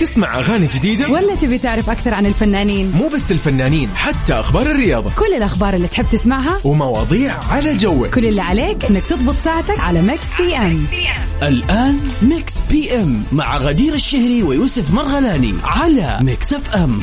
تسمع اغاني جديده ولا تبي تعرف أكثر عن الفنانين مو بس الفنانين حتى اخبار الرياضه كل الأخبار اللي تحب تسمعها ومواضيع على جوك كل اللي عليك انك تضبط ساعتك على ميكس بي ام الآن ميكس بي ام مع غدير الشهري ويوسف مرغلاني على ميكس اف ام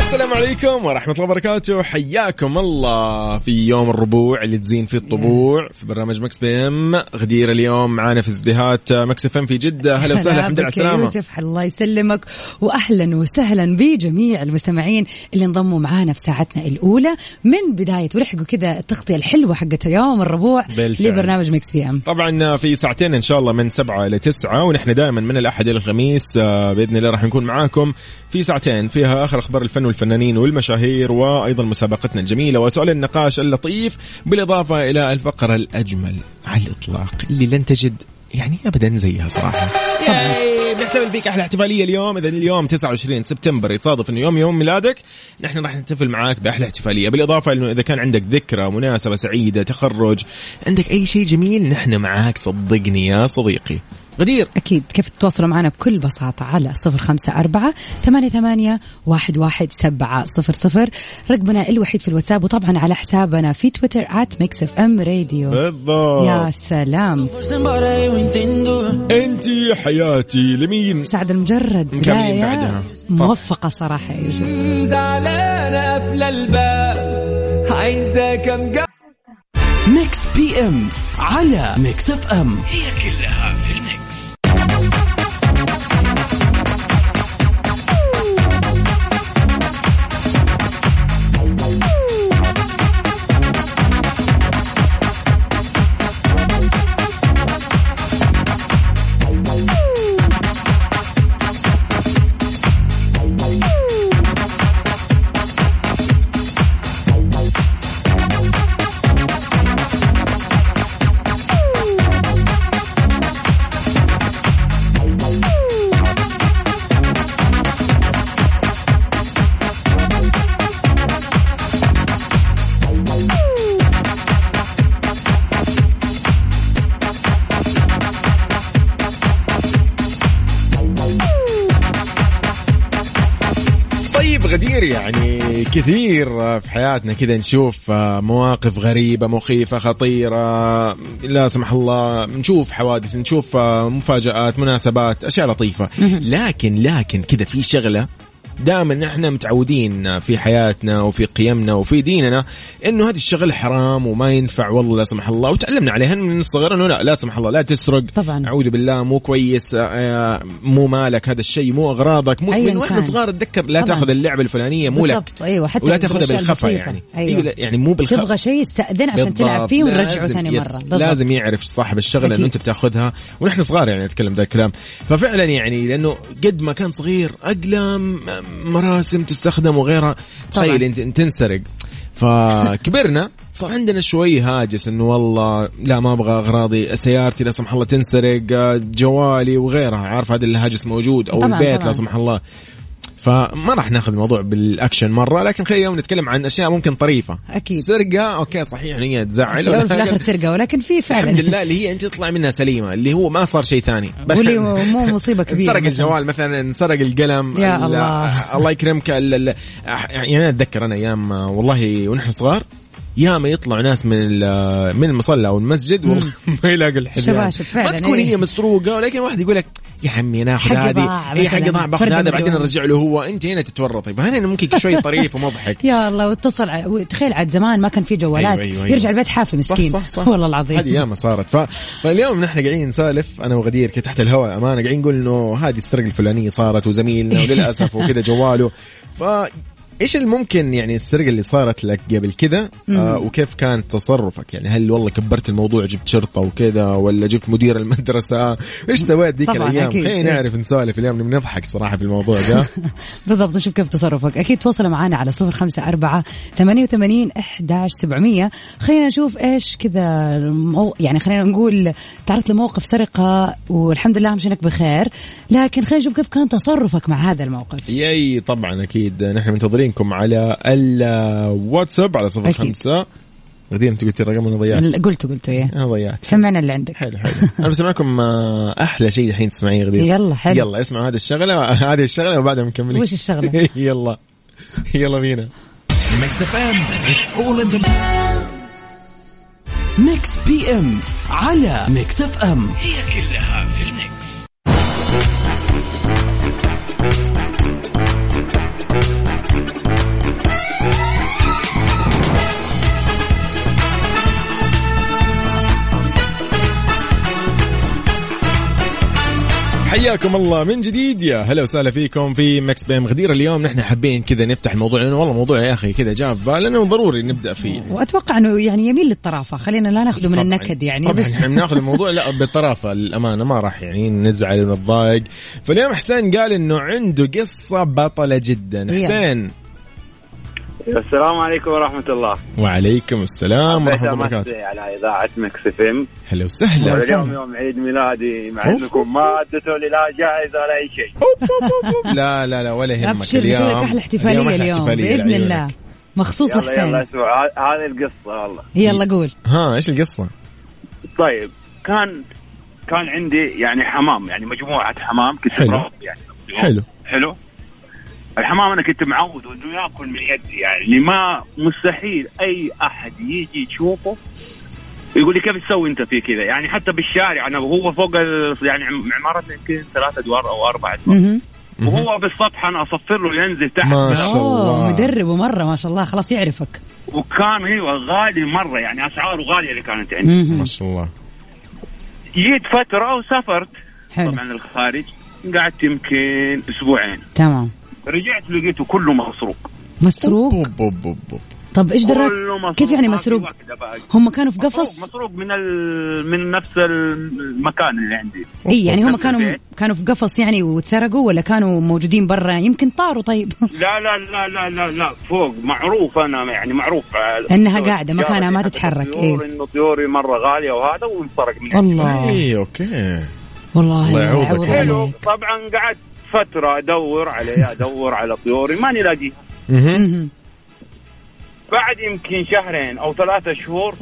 السلام عليكم ورحمه الله وبركاته حياكم الله في يوم الربوع اللي تزين فيه الطبوع في برنامج مكس بي ام غدير اليوم معانا في استديوهات مكس اف ام في جده هلا وسهلا الحمد لله على بك السلامه يوسف الله يسلمك واهلا وسهلا بجميع المستمعين اللي انضموا معانا في ساعتنا الاولى من بدايه ولحقوا كذا التغطيه الحلوه حقت يوم الربوع بالفعل. لبرنامج مكس بي ام طبعا في ساعتين ان شاء الله من سبعة إلى تسعة ونحن دائما من الأحد إلى الخميس آه، بإذن الله راح نكون معاكم في ساعتين فيها آخر أخبار الفن والفنانين والمشاهير وأيضا مسابقتنا الجميلة وسؤال النقاش اللطيف بالإضافة إلى الفقرة الأجمل على الإطلاق اللي لن تجد يعني ابدا زيها صراحه ياي، بنحتفل فيك احلى احتفاليه اليوم اذا اليوم 29 سبتمبر يصادف انه يوم يوم ميلادك نحن راح نحتفل معاك باحلى احتفاليه بالاضافه انه اذا كان عندك ذكرى مناسبه سعيده تخرج عندك اي شيء جميل نحن معاك صدقني يا صديقي غدير أكيد كيف تتواصلوا معنا بكل بساطة على صفر خمسة أربعة ثمانية ثمانية واحد واحد سبعة صفر صفر رقمنا الوحيد في الواتساب وطبعا على حسابنا في تويتر آت ميكس اف ام راديو يا بالضبط سلام انت حياتي لمين سعد المجرد مكملين بداية بعدها. موفقة صراحة يا يوسف زعلانة قافلة الباب عايزة كم جا ميكس بي ام على ميكس اف ام طيب غدير يعني كثير في حياتنا كذا نشوف آه، مواقف غريبة مخيفة خطيرة لا سمح الله نشوف حوادث نشوف آه، مفاجآت مناسبات أشياء لطيفة لكن لكن كذا في شغلة دائما احنا متعودين في حياتنا وفي قيمنا وفي ديننا انه هذا الشغل حرام وما ينفع والله لا سمح الله وتعلمنا عليها من الصغر انه لا لا سمح الله لا تسرق طبعاً. اعوذ بالله مو كويس آه، مو مالك هذا الشيء مو اغراضك مو أي من واحنا إنسان. صغار اتذكر لا طبعاً. تاخذ اللعبه الفلانيه مو لك بالضبط، أيوة، حتى ولا لو تاخذها بالأشياء بالخفا البسيطة. يعني أيوة. لا، يعني مو بالخفا تبغى شيء يستأذن عشان تلعب بالضبط. فيه ونرجعه لازم- ثاني يس. مرة بالضبط. لازم يعرف صاحب الشغله أكيد. انه انت بتاخذها ونحن صغار يعني اتكلم ذا الكلام ففعلا يعني لانه قد ما كان صغير اقلام مراسم تستخدم وغيرها تخيل انت أنت تنسرق فكبرنا صار عندنا شوي هاجس انه والله لا ما ابغى اغراضي سيارتي لا سمح الله تنسرق جوالي وغيرها عارف هذا الهاجس موجود او طبعاً، البيت لا طبعاً. سمح الله فما راح ناخذ الموضوع بالاكشن مره لكن خلينا اليوم نتكلم عن اشياء ممكن طريفه أكيد. سرقه اوكي صحيح ان هي تزعل في الاخر ولكن سرقه ولكن في فعلا الحمد لله اللي هي انت تطلع منها سليمه اللي هو ما صار شيء ثاني واللي هو مو مصيبة كبيرة انسرق مثلاً. الجوال مثلا انسرق القلم يا ال- الله. الله يكرمك ال- ال- أح- يعني انا اتذكر انا ايام آه، والله ونحن صغار ياما يطلع ناس من ال- من المصلى او المسجد وما يلاقوا الحذاء شباشب فعلا، ما تكون إيه. هي مسروقه ولكن واحد يقول لك يا عمي ناخذ حقي هذه ضاع اي حق مثلاً. ضاع باخذ فرد هذا مليون. بعدين ارجع له هو انت هنا تتورطي فهنا ممكن شوي طريف ومضحك يا الله واتصل ع... وتخيل عاد زمان ما كان في جوالات أيوة، أيوة، أيوة. يرجع البيت حافي مسكين صح صح صح والله هذه العظيم ياما صارت ف... فاليوم نحن قاعدين نسالف انا وغدير كده تحت الهواء امانه قاعدين نقول انه هذه السرقه الفلانيه صارت وزميلنا وللاسف وكذا جواله ف ايش الممكن يعني السرقه اللي صارت لك قبل كذا آه وكيف كان تصرفك يعني هل والله كبرت الموضوع جبت شرطه وكذا ولا جبت مدير المدرسه ايش سويت ذيك طبعاً، الايام أكيد. إيه. خلينا نعرف نسولف اليوم بنضحك صراحه في الموضوع ده بالضبط نشوف كيف تصرفك أكيد تواصل معنا على صفر خمسة أربعة ثمانية وثمانين إحداش سبعمية خلينا نشوف إيش كذا المو... يعني خلينا نقول تعرضت لموقف سرقة والحمد لله أهم شيء إنك بخير لكن خلينا نشوف كيف كان تصرفك مع هذا الموقف ياي طبعا اكيد نحن منتظرينكم على الواتساب على صفر أكيد. خمسة غدير انت قلتي الرقم انا ضيعت قلته قلته إيه انا ضيعت سمعنا اللي عندك حلو حلو انا بسمعكم آه، احلى شيء الحين تسمعيه غدير يلا، حلو. يلا اسمعوا هذه الشغله هذه الشغله وبعدها مكملين وش الشغلة؟ يلا يلا بينا ميكس اف ام اتس اول ان ذا ميكس بي ام على ميكس اف ام حياكم الله من جديد يا هلا وسهلا فيكم في مكس بيم غدير اليوم نحن حابين كذا نفتح الموضوع لانه والله موضوع يا اخي كذا جاء في بالنا وضروري نبدا فيه واتوقع انه يعني يميل للطرافه خلينا لا ناخذه من طبعاً. النكد يعني طبعا بس احنا بناخذ الموضوع لا بطرافه للامانه ما راح يعني نزعل ونتضايق فاليوم حسين قال انه عنده قصه بطله جدا يلا. حسين السلام عليكم ورحمة الله وعليكم السلام ورحمه الله أحب أمسي وبركاته على إذاعة مكس اف ام هلا وسهلا واليوم يوم عيد ميلادي مع أوف. أنكم ما أديتوا لي لا جائزة ولا أي شيء أوب أوب أوب أوب. لا لا لا ولا يهمك ابشر بسوي لك احلى احتفاليه أحلى اليوم احتفالية باذن لعيونك. الله مخصوص يلا يلا لحسين اسمعوا ه- هذه القصة والله يلا قول ها ايش القصه؟ طيب كان كان عندي يعني حمام يعني مجموعة حمام كنت حلو. مربي يعني حلو حلو الحمام انا كنت معود انه ياكل من يدي يعني ما مستحيل اي احد يجي يشوفه يقول لي كيف تسوي انت في كذا يعني حتى بالشارع انا وهو فوق ال- يعني عم- عمارتنا يمكن ثلاث ادوار او اربع ادوار مهم. وهو بالسطح انا اصفر له ينزل تحت ما شاء الله. اوه مدرب ومره ما شاء الله خلاص يعرفك وكان ايوه غالي مره يعني اسعاره غاليه اللي كانت عندي مهم. ما شاء الله جيت فتره وسافرت حلو طبعا الخارج قعدت يمكن اسبوعين تمام رجعت لقيته كله مسروق مسروق بوب بوب بوب بوب. طب ايش دراك كله مسروق كيف يعني ما في مسروق واحدة باقي. هم كانوا في مسروق قفص مسروق من ال... من نفس المكان اللي عندي اي يعني هم نفس كانوا البيت. كانوا في قفص يعني وتسرقوا ولا كانوا موجودين برا يمكن طاروا طيب لا لا لا لا لا لا فوق معروف انا يعني معروف على- إنها قاعدة التجارة مكانها ما دي حتى تتحرك، الطيور، إيه. انه طيوري مره غاليه وهذا وانسرق مني والله اي اوكي والله الله لا يعوضك يعوض والله. حلو عليك طبعا قعدت فتره ادور عليه ادور على طيوري ماني لاقيه مهم. مهم. بعد يمكن شهرين او ثلاثة شهور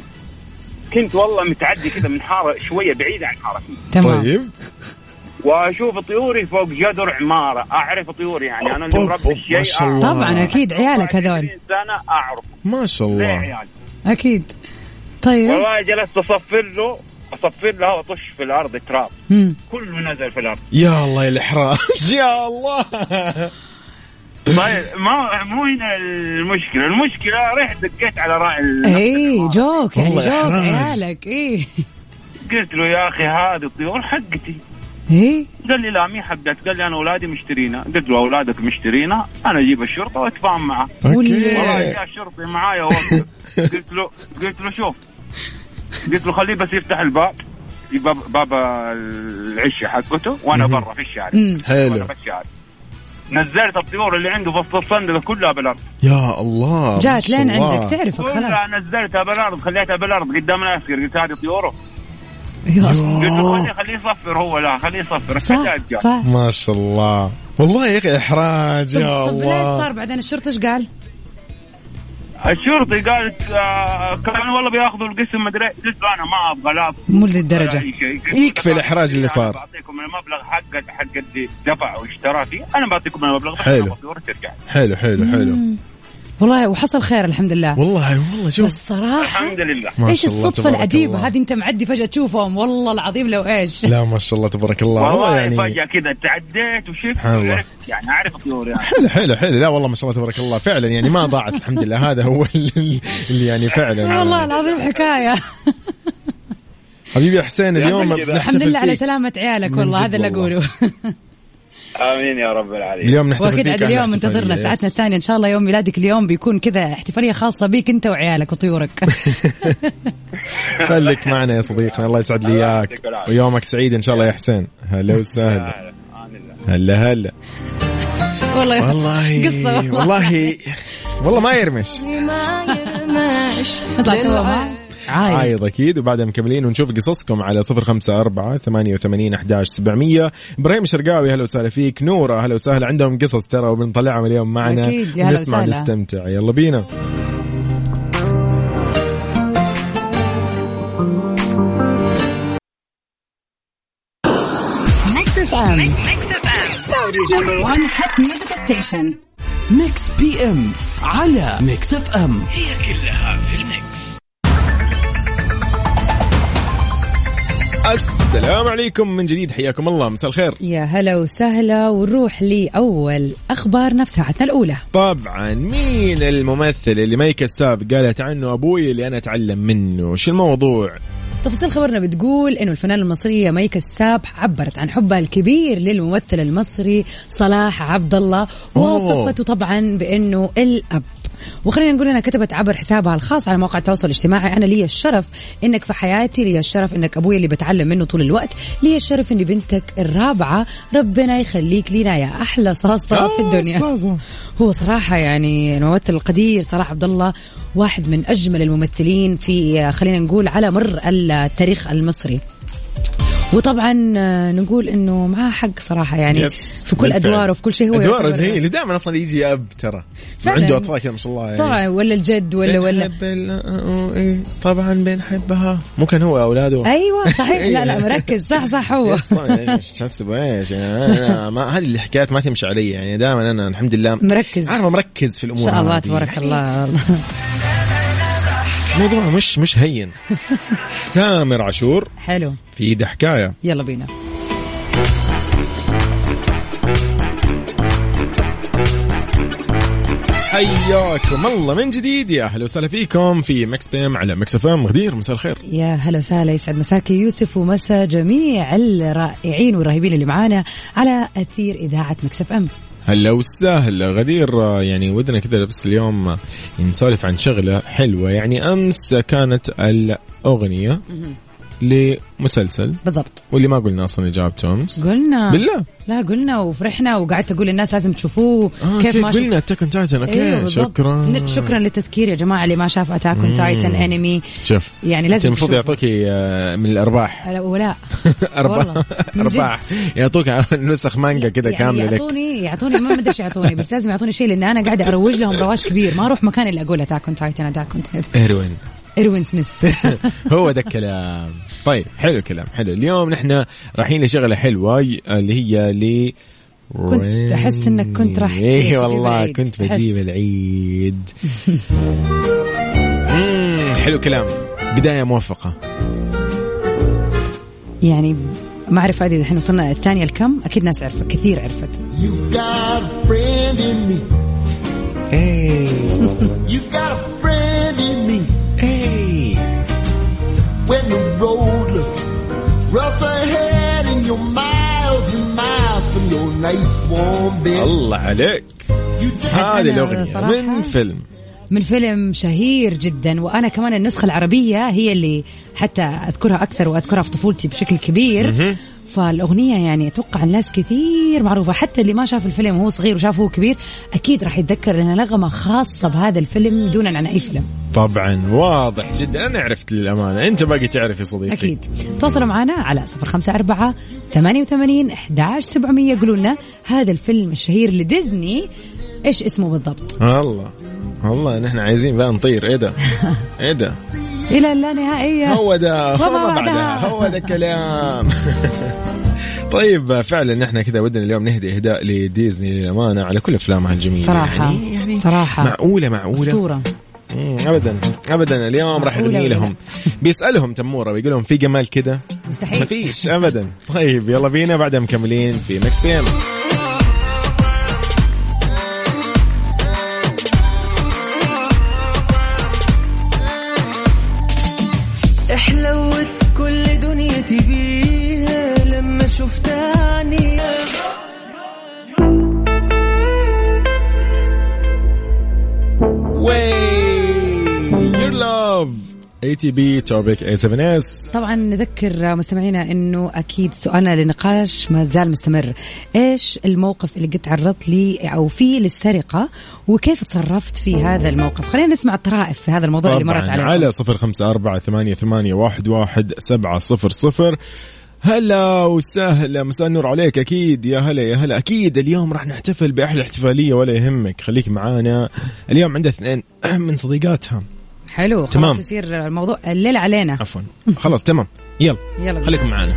كنت والله متعدي كذا من حاره شويه بعيده عن حارتي تمام طيب واشوف طيوري فوق جدر عماره اعرف طيوري يعني انا اللي أوب، أوب، مربي ما الشيء شاء الله. أعرف. طبعا اكيد عيالك هذول 24 سنه اعرف ما شاء ليه الله عيال اكيد طيب والله جلست اصفر له اصفر له واطش في الارض تراب مم. كله نزل في الارض يا الله يا الاحراج يا الله طيب ما مو هنا المشكله المشكله رحت دقيت على راعي ال- اي جوك يعني والله جوك إحراج. عيالك إيه. اي قلت له يا اخي هذه الطيور حقتي اي قال لي لا مي حقتك قال لي انا اولادي مشترينها قلت له اولادك مشترينها انا اجيب الشرطه واتفاهم معه والله إيه. اوكي جاء الشرطي معايا وقف قلت له قلت له شوف قلت له خليه بس يفتح الباب باب باب العشه حقته وانا برا في الشارع مم. وأنا حلو في الشارع نزلت الطيور اللي عنده في الصندوق كلها بالارض يا الله ما جات شاء لين الله. عندك تعرفك خلاص كلها نزلتها بالارض خليتها بالارض قدام العسكر قلت هذه طيوره يا الله. قلت له خليه خليه يصفر هو لا خليه يصفر آه. صح حتى صح ما شاء الله والله يا اخي احراج طب, يا طب ليش صار الله بعدين الشرطي ايش قال؟ الشرطي قالت آه كانوا والله بياخذوا القسم مدري قلت له انا ما ابغى لا مو ولا للدرجه أي شيء. قلت يكفي له الإحراج اللي أنا صار. يعني بعطيكم المبلغ حق حق اللي دفع واشترى فيه انا بعطيكم المبلغ بس حلو. أنا بطيور ترجع حلو حلو حلو والله وحصل خير الحمد لله والله والله شوف بس صراحه الحمد لله ما ايش شاء الله الصدفه تبارك العجيبه الله. هذه انت معدي فجاه تشوفهم والله العظيم لو ايش لا ما شاء الله تبارك الله والله والله يعني فجاه كذا تعديت وشفت سبحان الله. وعرفت يعني اعرف طيور يعني حلو حلو حلو لا والله ما شاء الله تبارك الله فعلا يعني ما ضاعت الحمد لله هذا هو ال- اللي يعني فعلا والله العظيم حكايه حبيبي يا حسين اليوم الحمد لله. بنحتفل الحمد لله على فيك. سلامه عيالك من جد والله هذا اللي والله. اقوله امين يا رب العالمين اليوم نحتفل واكيد فيك عاد على اليوم الاحتفالية. منتظرنا ساعتنا الثانيه ان شاء الله يوم ميلادك اليوم بيكون كذا احتفاليه خاصه بيك انت وعيالك وطيورك خليك معنا يا صديقنا الله يسعد لي الله اياك يعطيك العافية. ويومك سعيد ان شاء الله يا حسين هلا وسهلا لا، لا، آمين الله. هلا هلا والله والله قصه والله, والله والله ما يرمش نطلع سوا مع عايد عايض اكيد وبعدها مكملين ونشوف قصصكم على 054 88 11 700 ابراهيم شرقاوي اهلا وسهلا فيك نوره اهلا وسهلا عندهم قصص ترى وبنطلعهم اليوم معنا أكيد، يا هلا نسمع وسهلا. نستمتع يلا بينا ميكس اف ام سعوديز نمبر 1 هات ميوزك ستيشن ميكس بي ام على ميكس اف ام السلام عليكم من جديد حياكم الله مساء الخير يا هلا وسهلا ونروح لاول اخبارنا في ساعتنا الاولى طبعا مين الممثل اللي مي كساب قالت عنه ابوي اللي انا اتعلم منه شو الموضوع تفاصيل خبرنا بتقول انه الفنانه المصريه مي كساب عبرت عن حبها الكبير للممثل المصري صلاح عبد الله أوه. ووصفته طبعا بانه الاب وخلينا نقول انها كتبت عبر حسابها الخاص على مواقع التواصل الاجتماعي انا لي الشرف انك في حياتي لي الشرف انك ابوي اللي بتعلم منه طول الوقت لي الشرف اني بنتك الرابعه ربنا يخليك لينا يا احلى صاصه في الدنيا صازة. هو صراحة يعني الممثل القدير صلاح عبد الله واحد من أجمل الممثلين في خلينا نقول على مر التاريخ المصري وطبعا آه، نقول انه معاه حق صراحه يعني يس، في كل بالفعل. ادواره في كل شيء هو ادواره يعتبر- جميل دائما اصلا يجي اب ترى فعلاً. عنده اطفال كذا ما شاء الله يعني طبعا ولا الجد إيه. ولا ولا بنحب ال- إيه، طبعا بنحبها مو كان هو اولاده ايوه صحيح لا لا أيوة. مركز صح صح هو يس، طبعاً، يعني ايش تحسب ايش يعني أنا- أنا ما هذه الحكايات ما تمشي علي يعني دائما انا الحمد لله مركز. عارفه مركز في ان الامور شاء الله هذه. تبارك يعني الله الموضوع مش مش هين تامر عاشور حلو في ايده حكايه يلا بينا حياكم الله من جديد يا اهلا وسهلا فيكم في مكس بيم على مكس اف ام غدير مساء الخير يا هلا وسهلا يسعد مساك يا يوسف ومسا جميع الرائعين والرهيبين اللي معانا على اثير اذاعه مكسف ام هلا وسهلا غدير آه، يعني ودنا كذا بس اليوم آه، نسولف عن شغله حلوه يعني امس كانت الاغنيه لمسلسل بالضبط واللي ما قلنا اصلا اجابته امس قلنا بالله لا قلنا وفرحنا وقعدت اقول للناس لازم تشوفوه آه كيف كيف ما شفت قلنا تكن تايتن اوكي أيوة أيوه بالضبط. شكرا ل- شكرا للتذكير يا جماعه اللي ما شاف اتاك اون تايتن انمي شوف يعني أنت لازم المفروض تشوفه. يعطوكي آه، من الارباح لا ولا والله، ارباح من جد. ارباح يعطوك نسخ مانجا كذا يعني كامله لك يعطوني يعطوني ما ادري ايش يعطوني بس لازم يعطوني شيء لان انا قاعده اروج لهم رواج كبير ما اروح مكان الا اقول اتاك اون تايتن اتاك اون تايتن ايروين ايروين سميث هو ده الكلام طيب حلو الكلام حلو اليوم نحن رايحين لشغله حلوه ي- اللي هي ل كنت أحس إنك كنت راح اي تجيب والله العيد. كنت أحس. بجيب العيد مم، حلو كلام بدايه موفقه يعني ما اعرف هذه الحين وصلنا الثانيه الكم اكيد ناس عرفت كثير عرفت You got a friend in me. اي You got a friend in me. اي When the road looks rough ahead and you're miles and miles from your nice warm bed. الله عليك You just هذه أنا الاغنيه صراحة- من فيلم من فيلم شهير جدا وانا كمان النسخه العربيه هي اللي حتى اذكرها اكثر واذكرها في طفولتي بشكل كبير فالاغنيه يعني اتوقع الناس كثير معروفه حتى اللي ما شاف الفيلم وهو صغير وشافه وهو كبير اكيد راح يتذكر لانها نغمه خاصه بهذا الفيلم دونا عن اي فيلم طبعا واضح جدا انا عرفت للامانه انت باقي تعرف يا صديقي اكيد تواصلوا معنا على صفر خمسه اربعه ثمانيه وثمانين احداش سبعمئه قولوا لنا هذا الفيلم الشهير لديزني ايش اسمه بالضبط الله الله نحن عايزين بقى نطير ايه ده ايه ده الى اللانهائيه هو ده هو وما ما بعدها. بعدها هو ده الكلام طيب فعلا احنا كذا ودنا اليوم نهدي اهداء لديزني للامانه على كل افلامها الجميله صراحه يعني صراحه معقوله معقوله اسطوره مم، ابدا ابدا اليوم راح معقولة نغني ولا لهم بيسالهم تموره بيقول لهم في جمال كده مستحيل مفيش ابدا طيب يلا بينا بعدها مكملين في ميكس بي ام حلوت كل دنيتي بيها لما شفتها عينيها لاف اي تي بي توبيك اي 7 اس طبعا نذكر مستمعينا انه اكيد سؤالنا لنقاش ما زال مستمر ايش الموقف اللي قد تعرضت لي او فيه للسرقه وكيف تصرفت في هذا الموقف خلينا نسمع الطرائف في هذا الموضوع اللي طيب، مرت طبعا عليكم على صفر خمسة أربعة ثمانية ثمانية واحد واحد سبعة صفر صفر هلا وسهلا مساء النور عليك اكيد يا هلا يا هلا اكيد اليوم راح نحتفل باحلى احتفاليه ولا يهمك خليك معانا اليوم عندها اثنين من صديقاتها حلو تمام. خلاص يصير الموضوع الليل علينا عفوا خلاص تمام يلا يلا بينا. خليكم معانا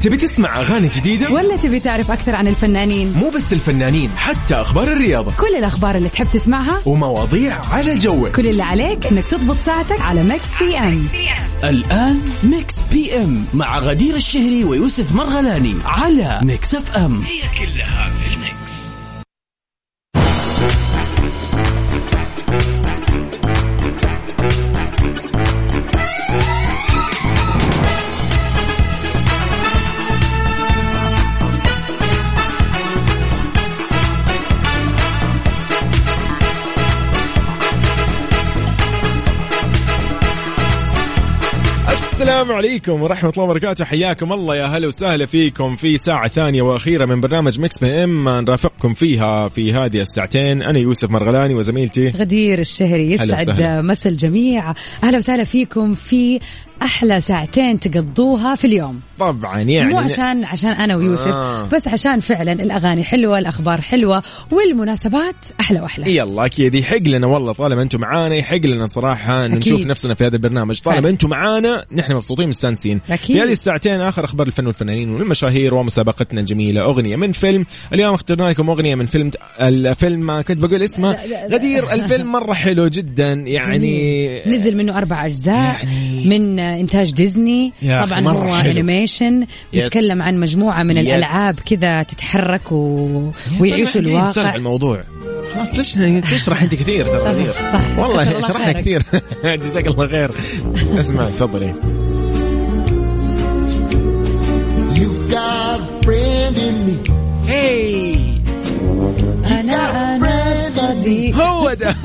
تبي تسمع اغاني جديده ولا تبي تعرف اكثر عن الفنانين مو بس الفنانين حتى أخبار الرياضة كل الاخبار اللي تحب تسمعها ومواضيع على جوك كل اللي عليك انك تضبط ساعتك على ميكس بي ام الآن ميكس بي ام مع غدير الشهري ويوسف مرغلاني على ميكس اف ام السلام عليكم ورحمة الله وبركاته حياكم الله يا هلا وسهلا فيكم في ساعة ثانية وأخيرة من برنامج مكس بي ام نرافقكم فيها في هذه الساعتين أنا يوسف مرغلاني وزميلتي غدير الشهري هلا يسعد وسهلا. مسا الجميع اهلا وسهلا فيكم في احلى ساعتين تقضوها في اليوم طبعا يعني مو عشان عشان انا ويوسف آه. آه. بس عشان فعلا الاغاني حلوه الاخبار حلوه والمناسبات احلى واحلى يلا اكيد يحق لنا والله طالما انتم معانا يحق لنا صراحه أن أكيد. نشوف نفسنا في هذا البرنامج طالما فعلا. انتم معانا نحن مبسوطين مستانسين أكيد. في هذه الساعتين اخر اخبار الفن والفنانين والمشاهير ومسابقتنا الجميله اغنيه من فيلم اليوم اخترنا لكم اغنيه من فيلم الفيلم ما كنت بقول اسمه لا، لا، لا. غدير الفيلم مره حلو جدا يعني جميل. نزل منه اربع اجزاء يعني- يعني من انتاج ديزني يا أخي طبعا مرة هو حلو. انيميشن يتكلم عن مجموعه من Yes. الالعاب كذا تتحرك و... ويعيشوا طلع ليه نسرع الواقع الموضوع خلاص ليش تشرح انت كثير ترى خلاص، غدير. طيب، صح. كثر والله الله شرحنا خيرك. كثير جزاك الله خير اسمع تفضلي You got a friend in me. انا انا صديق هو ده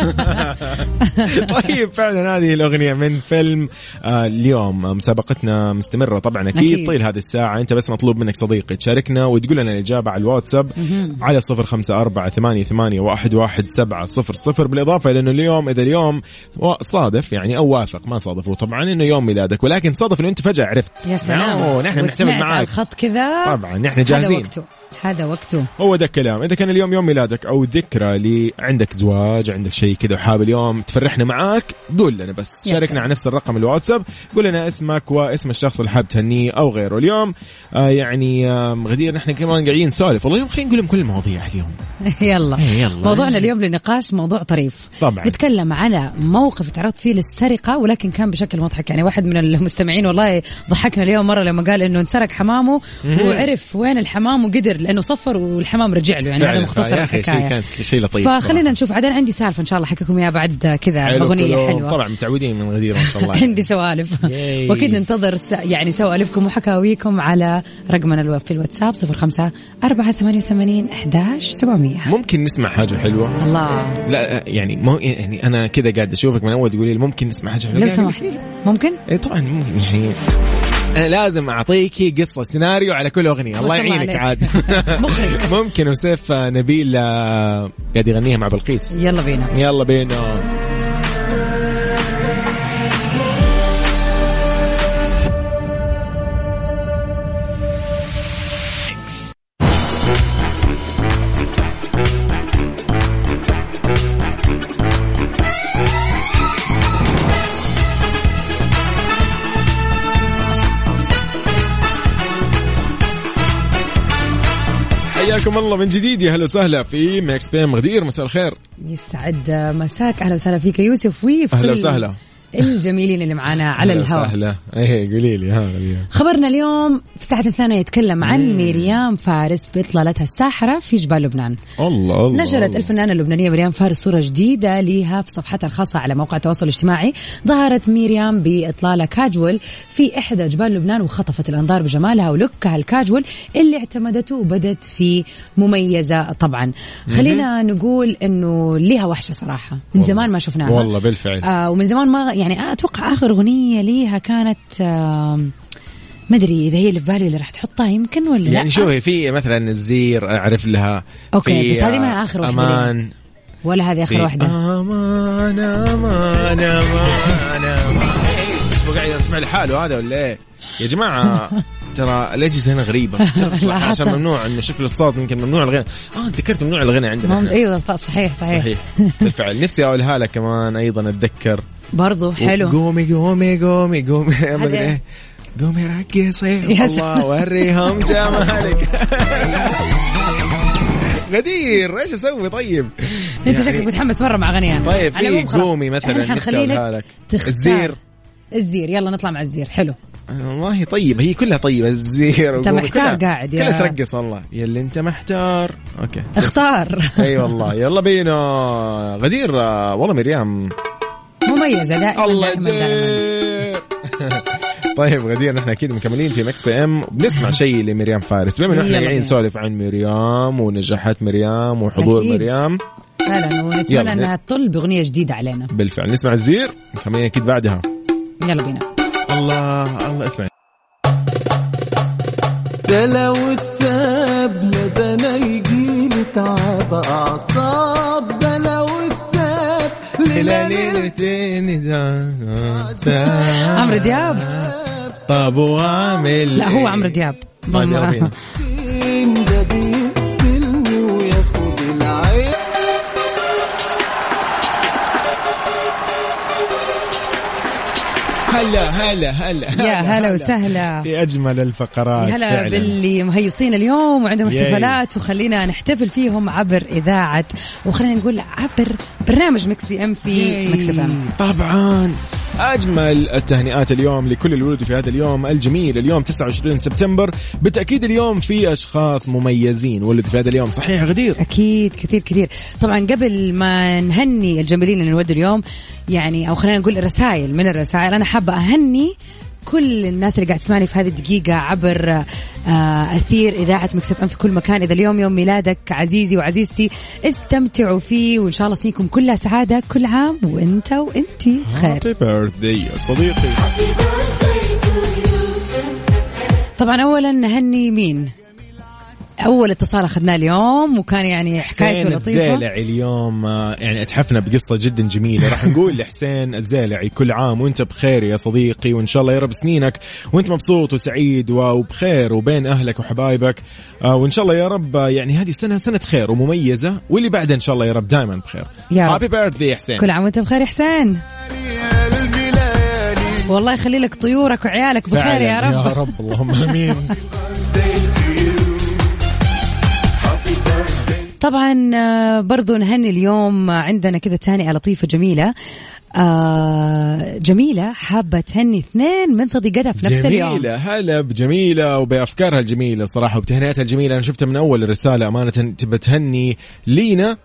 طيب فعلا هذه الاغنيه من فيلم آه، اليوم آه، مسابقتنا مستمره طبعا اكيد, أكيد. أكيد. طيل هذه الساعه انت بس مطلوب منك صديقي تشاركنا وتقول لنا الاجابه على الواتساب على صفر خمسة أربعة ثمانية, ثمانية واحد, واحد سبعة صفر صفر بالاضافه لانه اليوم اذا اليوم وا- صادف يعني او وافق ما صادفه طبعا انه يوم ميلادك ولكن صادف انه انت فجاه عرفت يا سلام نعم، نحن بنعتمد وسمعت على معاك الخط كذا طبعا نحن هذا جاهزين وقته هذا وقته هو ده الكلام اذا كان اليوم يوم ميلادك او ذكرى لي عندك زواج عندك شيء كذا وحاب اليوم تفرحنا معاك قول لنا بس يا شاركنا سلام. على نفس الرقم الواتساب قول لنا اسمك واسم الشخص اللي حاب تهنيه او غيره اليوم آه يعني آه غدير نحن كمان قاعدين نسولف والله اليوم خلينا نقول لهم كل المواضيع اليوم يلا إيه، يلا. موضوعنا اليوم للنقاش موضوع طريف طبعاً. نتكلم على موقف تعرضت فيه للسرقه ولكن كان بشكل مضحك يعني واحد من المستمعين والله ضحكنا اليوم مره لما قال انه انسرق حمامه وعرف وين الحمام وقدر لانه صفر والحمام رجع له يعني فعلا، هذا مختصر فيا أخي شيء الحكايه كان شيء لطيف فخلينا نشوف عاد أنا عندي سالفه ان شاء الله احكيكم اياها بعد كذا صراحة. حلو اغنيه كلهم. حلوه طبعا متعودين من غدير ما شاء الله يعني عندي سوالف ياي. واكيد ننتظر س... يعني سوالفكم وحكاويكم على رقمنا الو... في الواتساب 05 488 11700 ممكن نسمع حاجه حلوه الله لا آه، يعني مو يعني انا كذا قاعد اشوفك من اول تقولي لي ممكن نسمع يعني حاجه حلوه لو قاعد- سمحت ممكن؟ اي طبعا ممكن يعني انا لازم اعطيكي قصه سيناريو على كل اغنيه الله ما شاء الله يعينك عاد عليك. مخرج. ممكن وسيف نبيل آه، قاعد يغنيها مع بلقيس يلا بينا يلا بينا حياكم الله من جديد يا هلا وسهلا في ميكس بي ام غدير مساء الخير يسعد مساك اهلا وسهلا فيك يا يوسف ويف أهلا وسهلا. الجميلين اللي معانا على أهلا الهواء وسهلا ايه قولي لي ها غليان. خبرنا اليوم في ساعة الثانية يتكلم عن مريم فارس باطلالتها الساحرة في جبال لبنان الله الله نشرت الله. الفنانة اللبنانية مريم فارس صورة جديدة لها في صفحتها الخاصة على موقع التواصل الاجتماعي ظهرت مريم بإطلالة كاجول في إحدى جبال لبنان وخطفت الأنظار بجمالها ولوكها الكاجول اللي اعتمدته وبدت فيه مميزة طبعا خلينا نقول أنه لها وحشة صراحة من والله. زمان ما شفناها والله بالفعل. آه ومن زمان ما يعني أتوقع آخر أغنية ليها كانت آه ما ادري اذا هي اللي في بالي اللي راح تحطها يمكن ولا يعني لا شوفي في مثلا الزير اعرف لها أوكي، في بس هذه ما هي آخر واحدة امان ولا هذه اخر في آه. واحده امان امان امان امان بس قاعد يسمع لحاله هذا ولا ايه؟ يا جماعه ترى الاجهزه هنا غريبه تطلع لاحظت. عشان ممنوع انه شكل الصوت يمكن ممنوع الغنى اه تذكرت ممنوع الغنى عندنا مم... إحنا. ايوه صح- صحيح صحيح, صحيح بالفعل نفسي اقولها لك كمان ايضا اتذكر برضو حلو قومي قومي قومي قومي ما ادري هذا- ايه قومي رقصي يا سلام. الله وريهم جمالك غدير ايش اسوي طيب؟ انت شكلك متحمس مره مع غنيان طيب، في على العموم خلاص، قومي مثلاً إحنا نفسي حنخلي أقولها لك لك. تختار. الزير. الزير يلا نطلع مع الزير حلو والله طيب هي كلها طيبه الزير أنت وقومي، محتار كلها- قاعد يا- كلها ترقص والله يلي انت محتار اوكي اختار اي والله يلا بينا غدير آه، والله مريم مميزه دائما الله دائما دائما يجزيك. طيب غدير نحن اكيد مكملين في مكس بي ام وبنسمع شيء لمريم فارس بما انه نعم. يلا احنا قاعدين بينا. نسولف عن مريم ونجاحات مريم وحضور أكيد. مريم فعلا ونتمنى يلا. انها تطل باغنيه جديده علينا بالفعل نسمع الزير مكملين اكيد بعدها يلا بينا الله الله اسمع ده لو اتساب لبنا يجيني تعب اعصاب ده لو اتساب لليل آه. عمرو دياب طب وعامل لا هو عمرو دياب طيب يلا بينا. ده بيقتلني وياخد العين هلا هلا هلا يا هلا وسهلا في اجمل الفقرات هلا طيب، فعلاً. باللي مهيصين اليوم وعندهم ياي. احتفالات وخلينا نحتفل فيهم عبر اذاعه وخلينا نقول عبر برنامج مكس بي ام في مكس بي ام طبعا اجمل التهنئات اليوم لكل الولد في هذا اليوم الجميل اليوم 29 سبتمبر بالتاكيد اليوم في اشخاص مميزين ولد في هذا اليوم صحيح يا غدير اكيد كثير كثير طبعا قبل ما نهني الجميلين اللي نودوا اليوم يعني او خلينا نقول رسائل من الرسائل انا حابه اهني كل الناس اللي قاعد تسمعني في هذه الدقيقة عبر آه، أثير إذاعة مكسف أم في كل مكان إذا اليوم يوم ميلادك عزيزي وعزيزتي استمتعوا فيه وإن شاء الله سنينكم كلها سعادة كل عام وإنت وإنتي بخير هابي بيرثدي يا صديقي طبعا اولا نهني مين؟ اول اتصال اخذناه اليوم وكان يعني حكايته حسين لطيفه الزالعي اليوم آه، يعني اتحفنا بقصة جدا جميلة راح نقول لحسين الزالعي كل عام وانت بخير يا صديقي وان شاء الله يا رب سنينك وانت مبسوط وسعيد وبخير وبين اهلك وحبايبك آه، وان شاء الله يا رب آه، يعني هذه السنة سنة خير ومميزة واللي بعدها ان شاء الله يا رب دائما بخير يا رب. هابي بيرثدي يا حسين كل عام وانت بخير يا حسين والله يخلي لك طيورك وعيالك بخير يا فعلاً، رب يا رب اللهم امين طبعا آه، برضو نهني اليوم آه، عندنا كذا تهنئه لطيفه جميله آه جميله حابه تهني اثنين من صديقتها في نفس اليوم جميلة هلا بجميلة وبأفكارها الجميلة صراحة وبتهنئتها الجميلة أنا شفتها من أول الرسالة أمانة تبى تهني لينا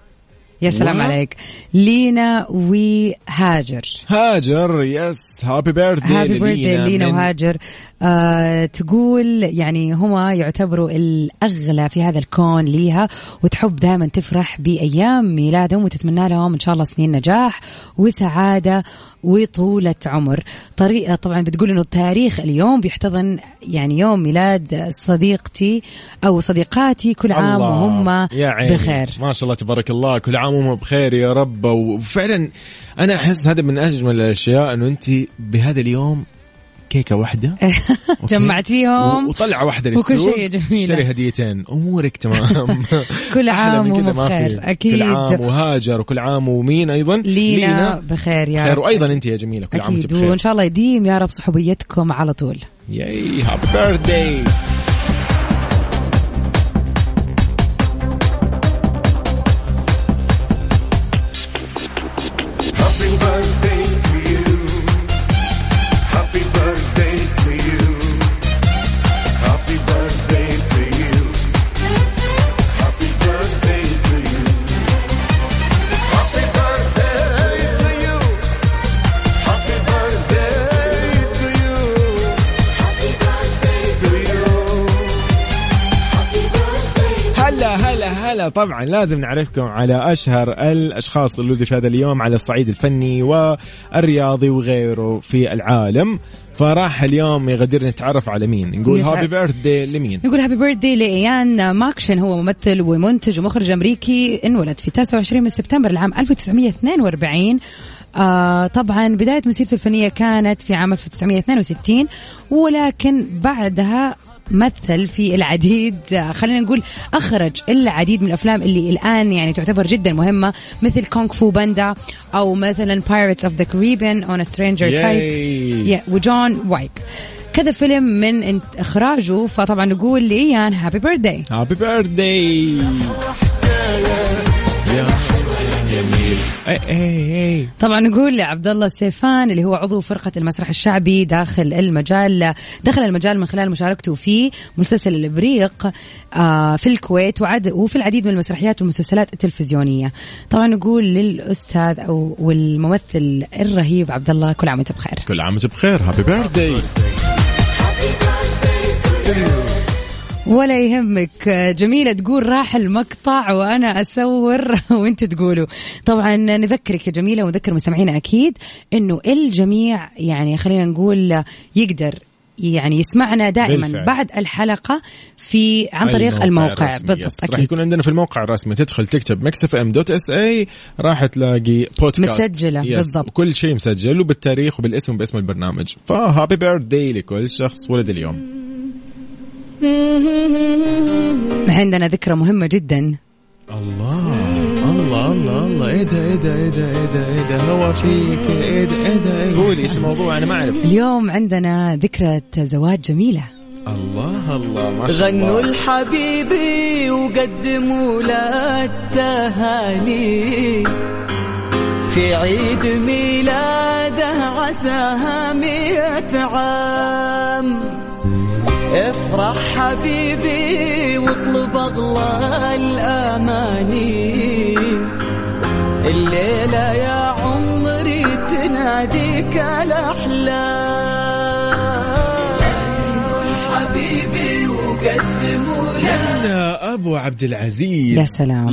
يا سلام واو. عليك لينا وهاجر هاجر يس هابي بيرثدي هابي بيرثدي لينا وهاجر آه تقول يعني هما يعتبروا الاغلى في هذا الكون ليها وتحب دائما تفرح بايام ميلادهم وتتمنى لهم ان شاء الله سنين نجاح وسعاده وطولة عمر طريقة طبعا بتقول انه تاريخ اليوم بيحتضن يعني يوم ميلاد صديقتي او صديقاتي كل عام الله. وهم يا عيني. بخير ما شاء الله تبارك الله كل عام وهم بخير يا رب وفعلا أنا أحس هذا من أجمل الأشياء أنه أنت بهذا اليوم كيكة واحدة أوكي؟ جمعتيهم و- وطلعة واحدة وكل للسوق شيء جميلة. اشتري هديتين أمورك تمام كل أحلى عام من كذا وهم ما في. بخير أكيد كل عام وهاجر وكل عام ومين أيضا لينا, بخير يا بخير رب. وأيضا أنت يا جميلة كل عام وأنت اكيد بخير وان شاء الله يديم يا رب صحوبيتكم على طول ياي هابي بيرثداي هلا هلا هلا طبعا لازم نعرفكم على اشهر الاشخاص اللي ولدوا في هذا اليوم على الصعيد الفني والرياضي وغيره في العالم فراح اليوم يغدرنا نتعرف على مين نقول نتعرف. هابي بيرث داي لمين نقول هابي بيرثدي لايان ماكشن هو ممثل ومنتج ومخرج امريكي انولد في 29 من سبتمبر العام 1942 آه طبعا بداية مسيرته الفنية كانت في عام 1962 ولكن بعدها مثل في العديد آه، خلينا نقول اخرج العديد من الافلام اللي الان يعني تعتبر جدا مهمه مثل كونغ فو باندا او مثلا Pirates of the Caribbean on a Stranger Yay. Tides Yeah, وجون وايك كذا فيلم من انت- اخراجه فطبعا نقول لايان هابي بيرثداي هابي بيرث داي يا جميل اي اي اي طبعا نقول لعبد الله السيفان اللي هو عضو فرقه المسرح الشعبي داخل المجال دخل المجال من خلال مشاركته في مسلسل الابريق آه، في الكويت وعد وفي العديد من المسرحيات والمسلسلات التلفزيونيه طبعا نقول للاستاذ او والممثل الرهيب عبد الله كل عام وانت بخير كل عام وانت بخير هابي بيرث داي ولا يهمك جميلة تقول راح المقطع وأنا أسور وأنتوا تقولوا طبعا نذكرك يا جميلة ونذكر مستمعينا أكيد أنه الجميع يعني خلينا نقول يقدر يعني يسمعنا دائما بالفعل. بالفعل. بعد الحلقة في عن طريق الموقع بالضبط راح أكيد يكون عندنا في الموقع الرسمي تدخل تكتب مكسف ام دوت اس اي راح تلاقي بودكاست متسجلة، يس. بالضبط. كل شيء مسجل وبالتاريخ وبالاسم وباسم البرنامج فهابي بيرث داي لكل شخص ولد اليوم عندنا ذكرى مهمة جدا الله الله الله الله ايه ده ايه ده ايه ده ايه ده ايه ده هو في كذا ايه ده ايه ده إيه؟ قولي ايش الموضوع انا ما اعرف اليوم عندنا ذكرى زواج جميلة الله الله ما شاء غنوا الله لحبيبي وقدموا له التهاني في عيد ميلاده عساها مئة عام افرح حبيبي واطلب اغلى الاماني الليلة يا عمري تناديك الاحلام حبيبي وقدموا له غنى ابو عبد العزيز يا سلام.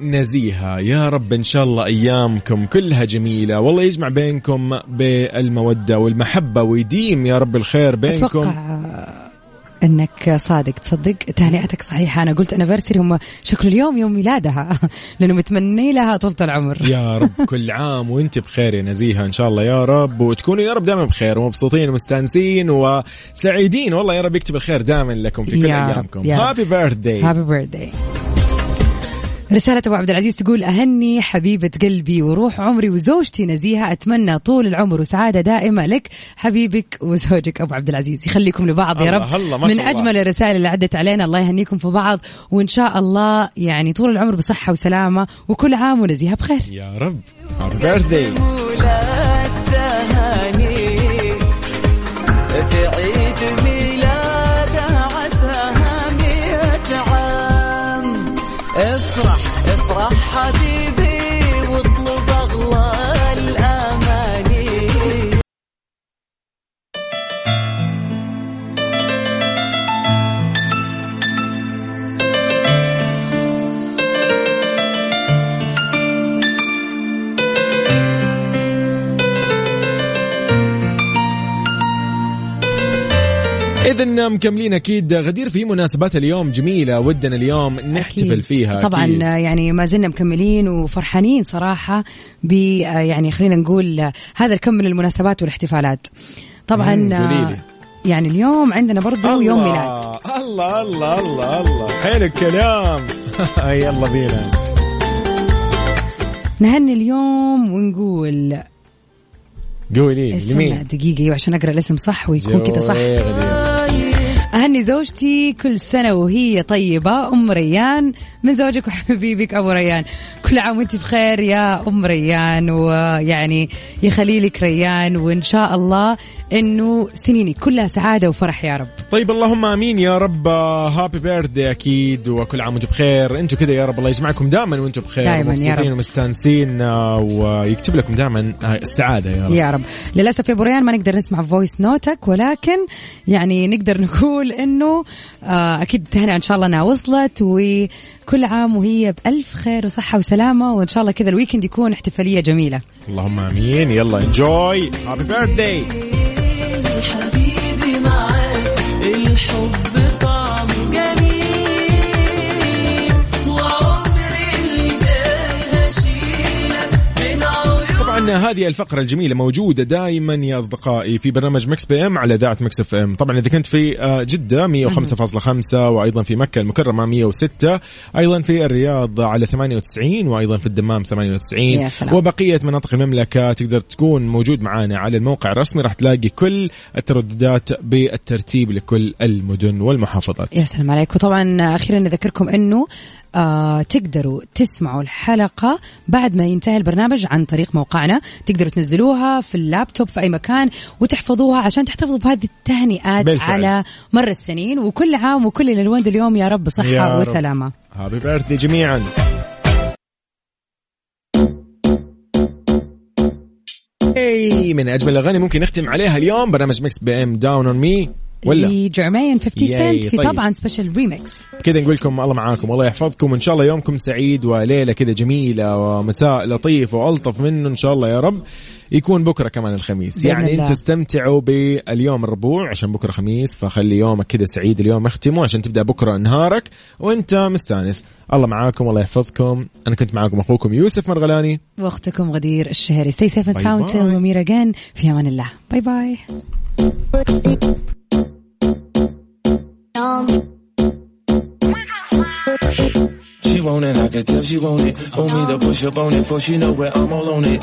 لنزيهه يا رب ان شاء الله ايامكم كلها جميله والله يجمع بينكم بالموده والمحبه ويديم يا رب الخير بينكم أتوقع انك صادق تصدق تهنئتك صحيحه انا قلت انيفرسري هم شكله اليوم يوم ميلادها لانه متمني لها طول العمر يا رب كل عام وانت بخير يا نزيهه ان شاء الله يا رب وتكونوا يا رب دائما بخير ومبسوطين ومستانسين وسعيدين والله يا رب يكتب الخير دائما لكم في كل يا رب، ايامكم يا رب. هابي بيرثداي هابي بيرثداي رسالة أبو عبد العزيز تقول أهني حبيبة قلبي وروح عمري وزوجتي نزيهة أتمنى طول العمر وسعادة دائمة لك حبيبك وزوجك أبو عبد العزيز يخليكم لبعض يا الله- رب الله، ما من شاء الله. أجمل الرسائل اللي عدت علينا الله يهنيكم في بعض وإن شاء الله يعني طول العمر بصحة وسلامة وكل عام ونزيهة بخير يا رب هابي بيرثداي التهاني في عيد ميلاده عساها مئة عام افرح افرح حبيبي واطلب اغلى الاماني اذا مكملين اكيد غدير في مناسبات اليوم جميله ودنا اليوم نحتفل أكيد. فيها طبعا أكيد. آه، يعني ما زلنا مكملين وفرحانين صراحه ب آه، يعني خلينا نقول آه، هذا الكم من المناسبات والاحتفالات طبعا مم، آه، قوليلي. يعني اليوم عندنا برضو يوم الله، ميلاد الله الله الله الله حلو الكلام يلا بينا نهني اليوم ونقول قولي لي، استنى لمين دقيقه ايوه عشان اقرا الاسم صح ويكون كذا صح جوي غدير. اهني زوجتي كل سنه وهي طيبه ام ريان من زوجك وحبيبك ابو ريان كل عام وانت بخير يا ام ريان ويعني يخلي لك ريان وان شاء الله انه سنيني كلها سعاده وفرح يا رب طيب اللهم امين يا رب هابي بيرثدي اكيد وكل عام وانتم بخير انتم كذا يا رب الله يجمعكم دائما وانتم بخير دايماً يا مبسوطين رب. ومستانسين آه، ويكتب لكم دائما السعاده يا رب يا رب للاسف يا ابو ريان ما نقدر نسمع فويس نوتك ولكن يعني نقدر نقول انه آه، اكيد هنا ان شاء الله انها وصلت وكل عام وهي بالف خير وصحه وسلامه وان شاء الله كذا الويكند يكون احتفاليه جميله اللهم امين يلا انجوي هابي بيرثدي حبيبي معاك الحب طعم جميل وعمري اللي جاي هشيلك من عيوني طبعا هذه الفقره الجميله موجوده دائما يا اصدقائي في برنامج مكس بي ام على اذاعه مكس اف ام طبعا اذا كنت في آه، جده 105.5 وايضا في مكه المكرمه 106 ايضا في الرياض على 98 وايضا في الدمام 98 يا سلام. وبقيه مناطق المملكه تقدر تكون موجود معانا على الموقع الرسمي راح تلاقي كل الترددات بالترتيب لكل المدن والمحافظات يا سلام عليك وطبعا اخيرا نذكركم انه آه تقدروا تسمعوا الحلقة بعد ما ينتهي البرنامج عن طريق موقعنا تقدروا تنزلوها في اللابتوب في أي مكان وتحفظوها عشان تحتفظوا بهذه التهنئات بالفعل. على مر السنين وكل عام وكل الألوان اليوم يا رب صحة يا رب. وسلامة هابي بيرثدي جميعا اي من اجمل الاغاني ممكن نختم عليها اليوم برنامج ميكس بي ام داون اون مي ولا لجيرمين 50 ياي، سنت في طيب. طبعا سبيشل ريميكس كذا نقول لكم الله معاكم الله يحفظكم وان شاء الله يومكم سعيد وليله كذا جميله ومساء لطيف والطف منه ان شاء الله يا رب يكون بكره كمان الخميس بإذن يعني الله. انت استمتعوا باليوم الربوع عشان بكره خميس فخلي يومك كذا سعيد اليوم اختمه عشان تبدا بكره نهارك وانت مستانس الله معاكم الله يحفظكم انا كنت معاكم اخوكم يوسف مرغلاني واختكم غدير الشهري ستي سيف اند باي ساوند باي. وميرا جان في امان الله باي باي She want it, I can tell she want it. Want me to push up on it, for she know where I'm all on it.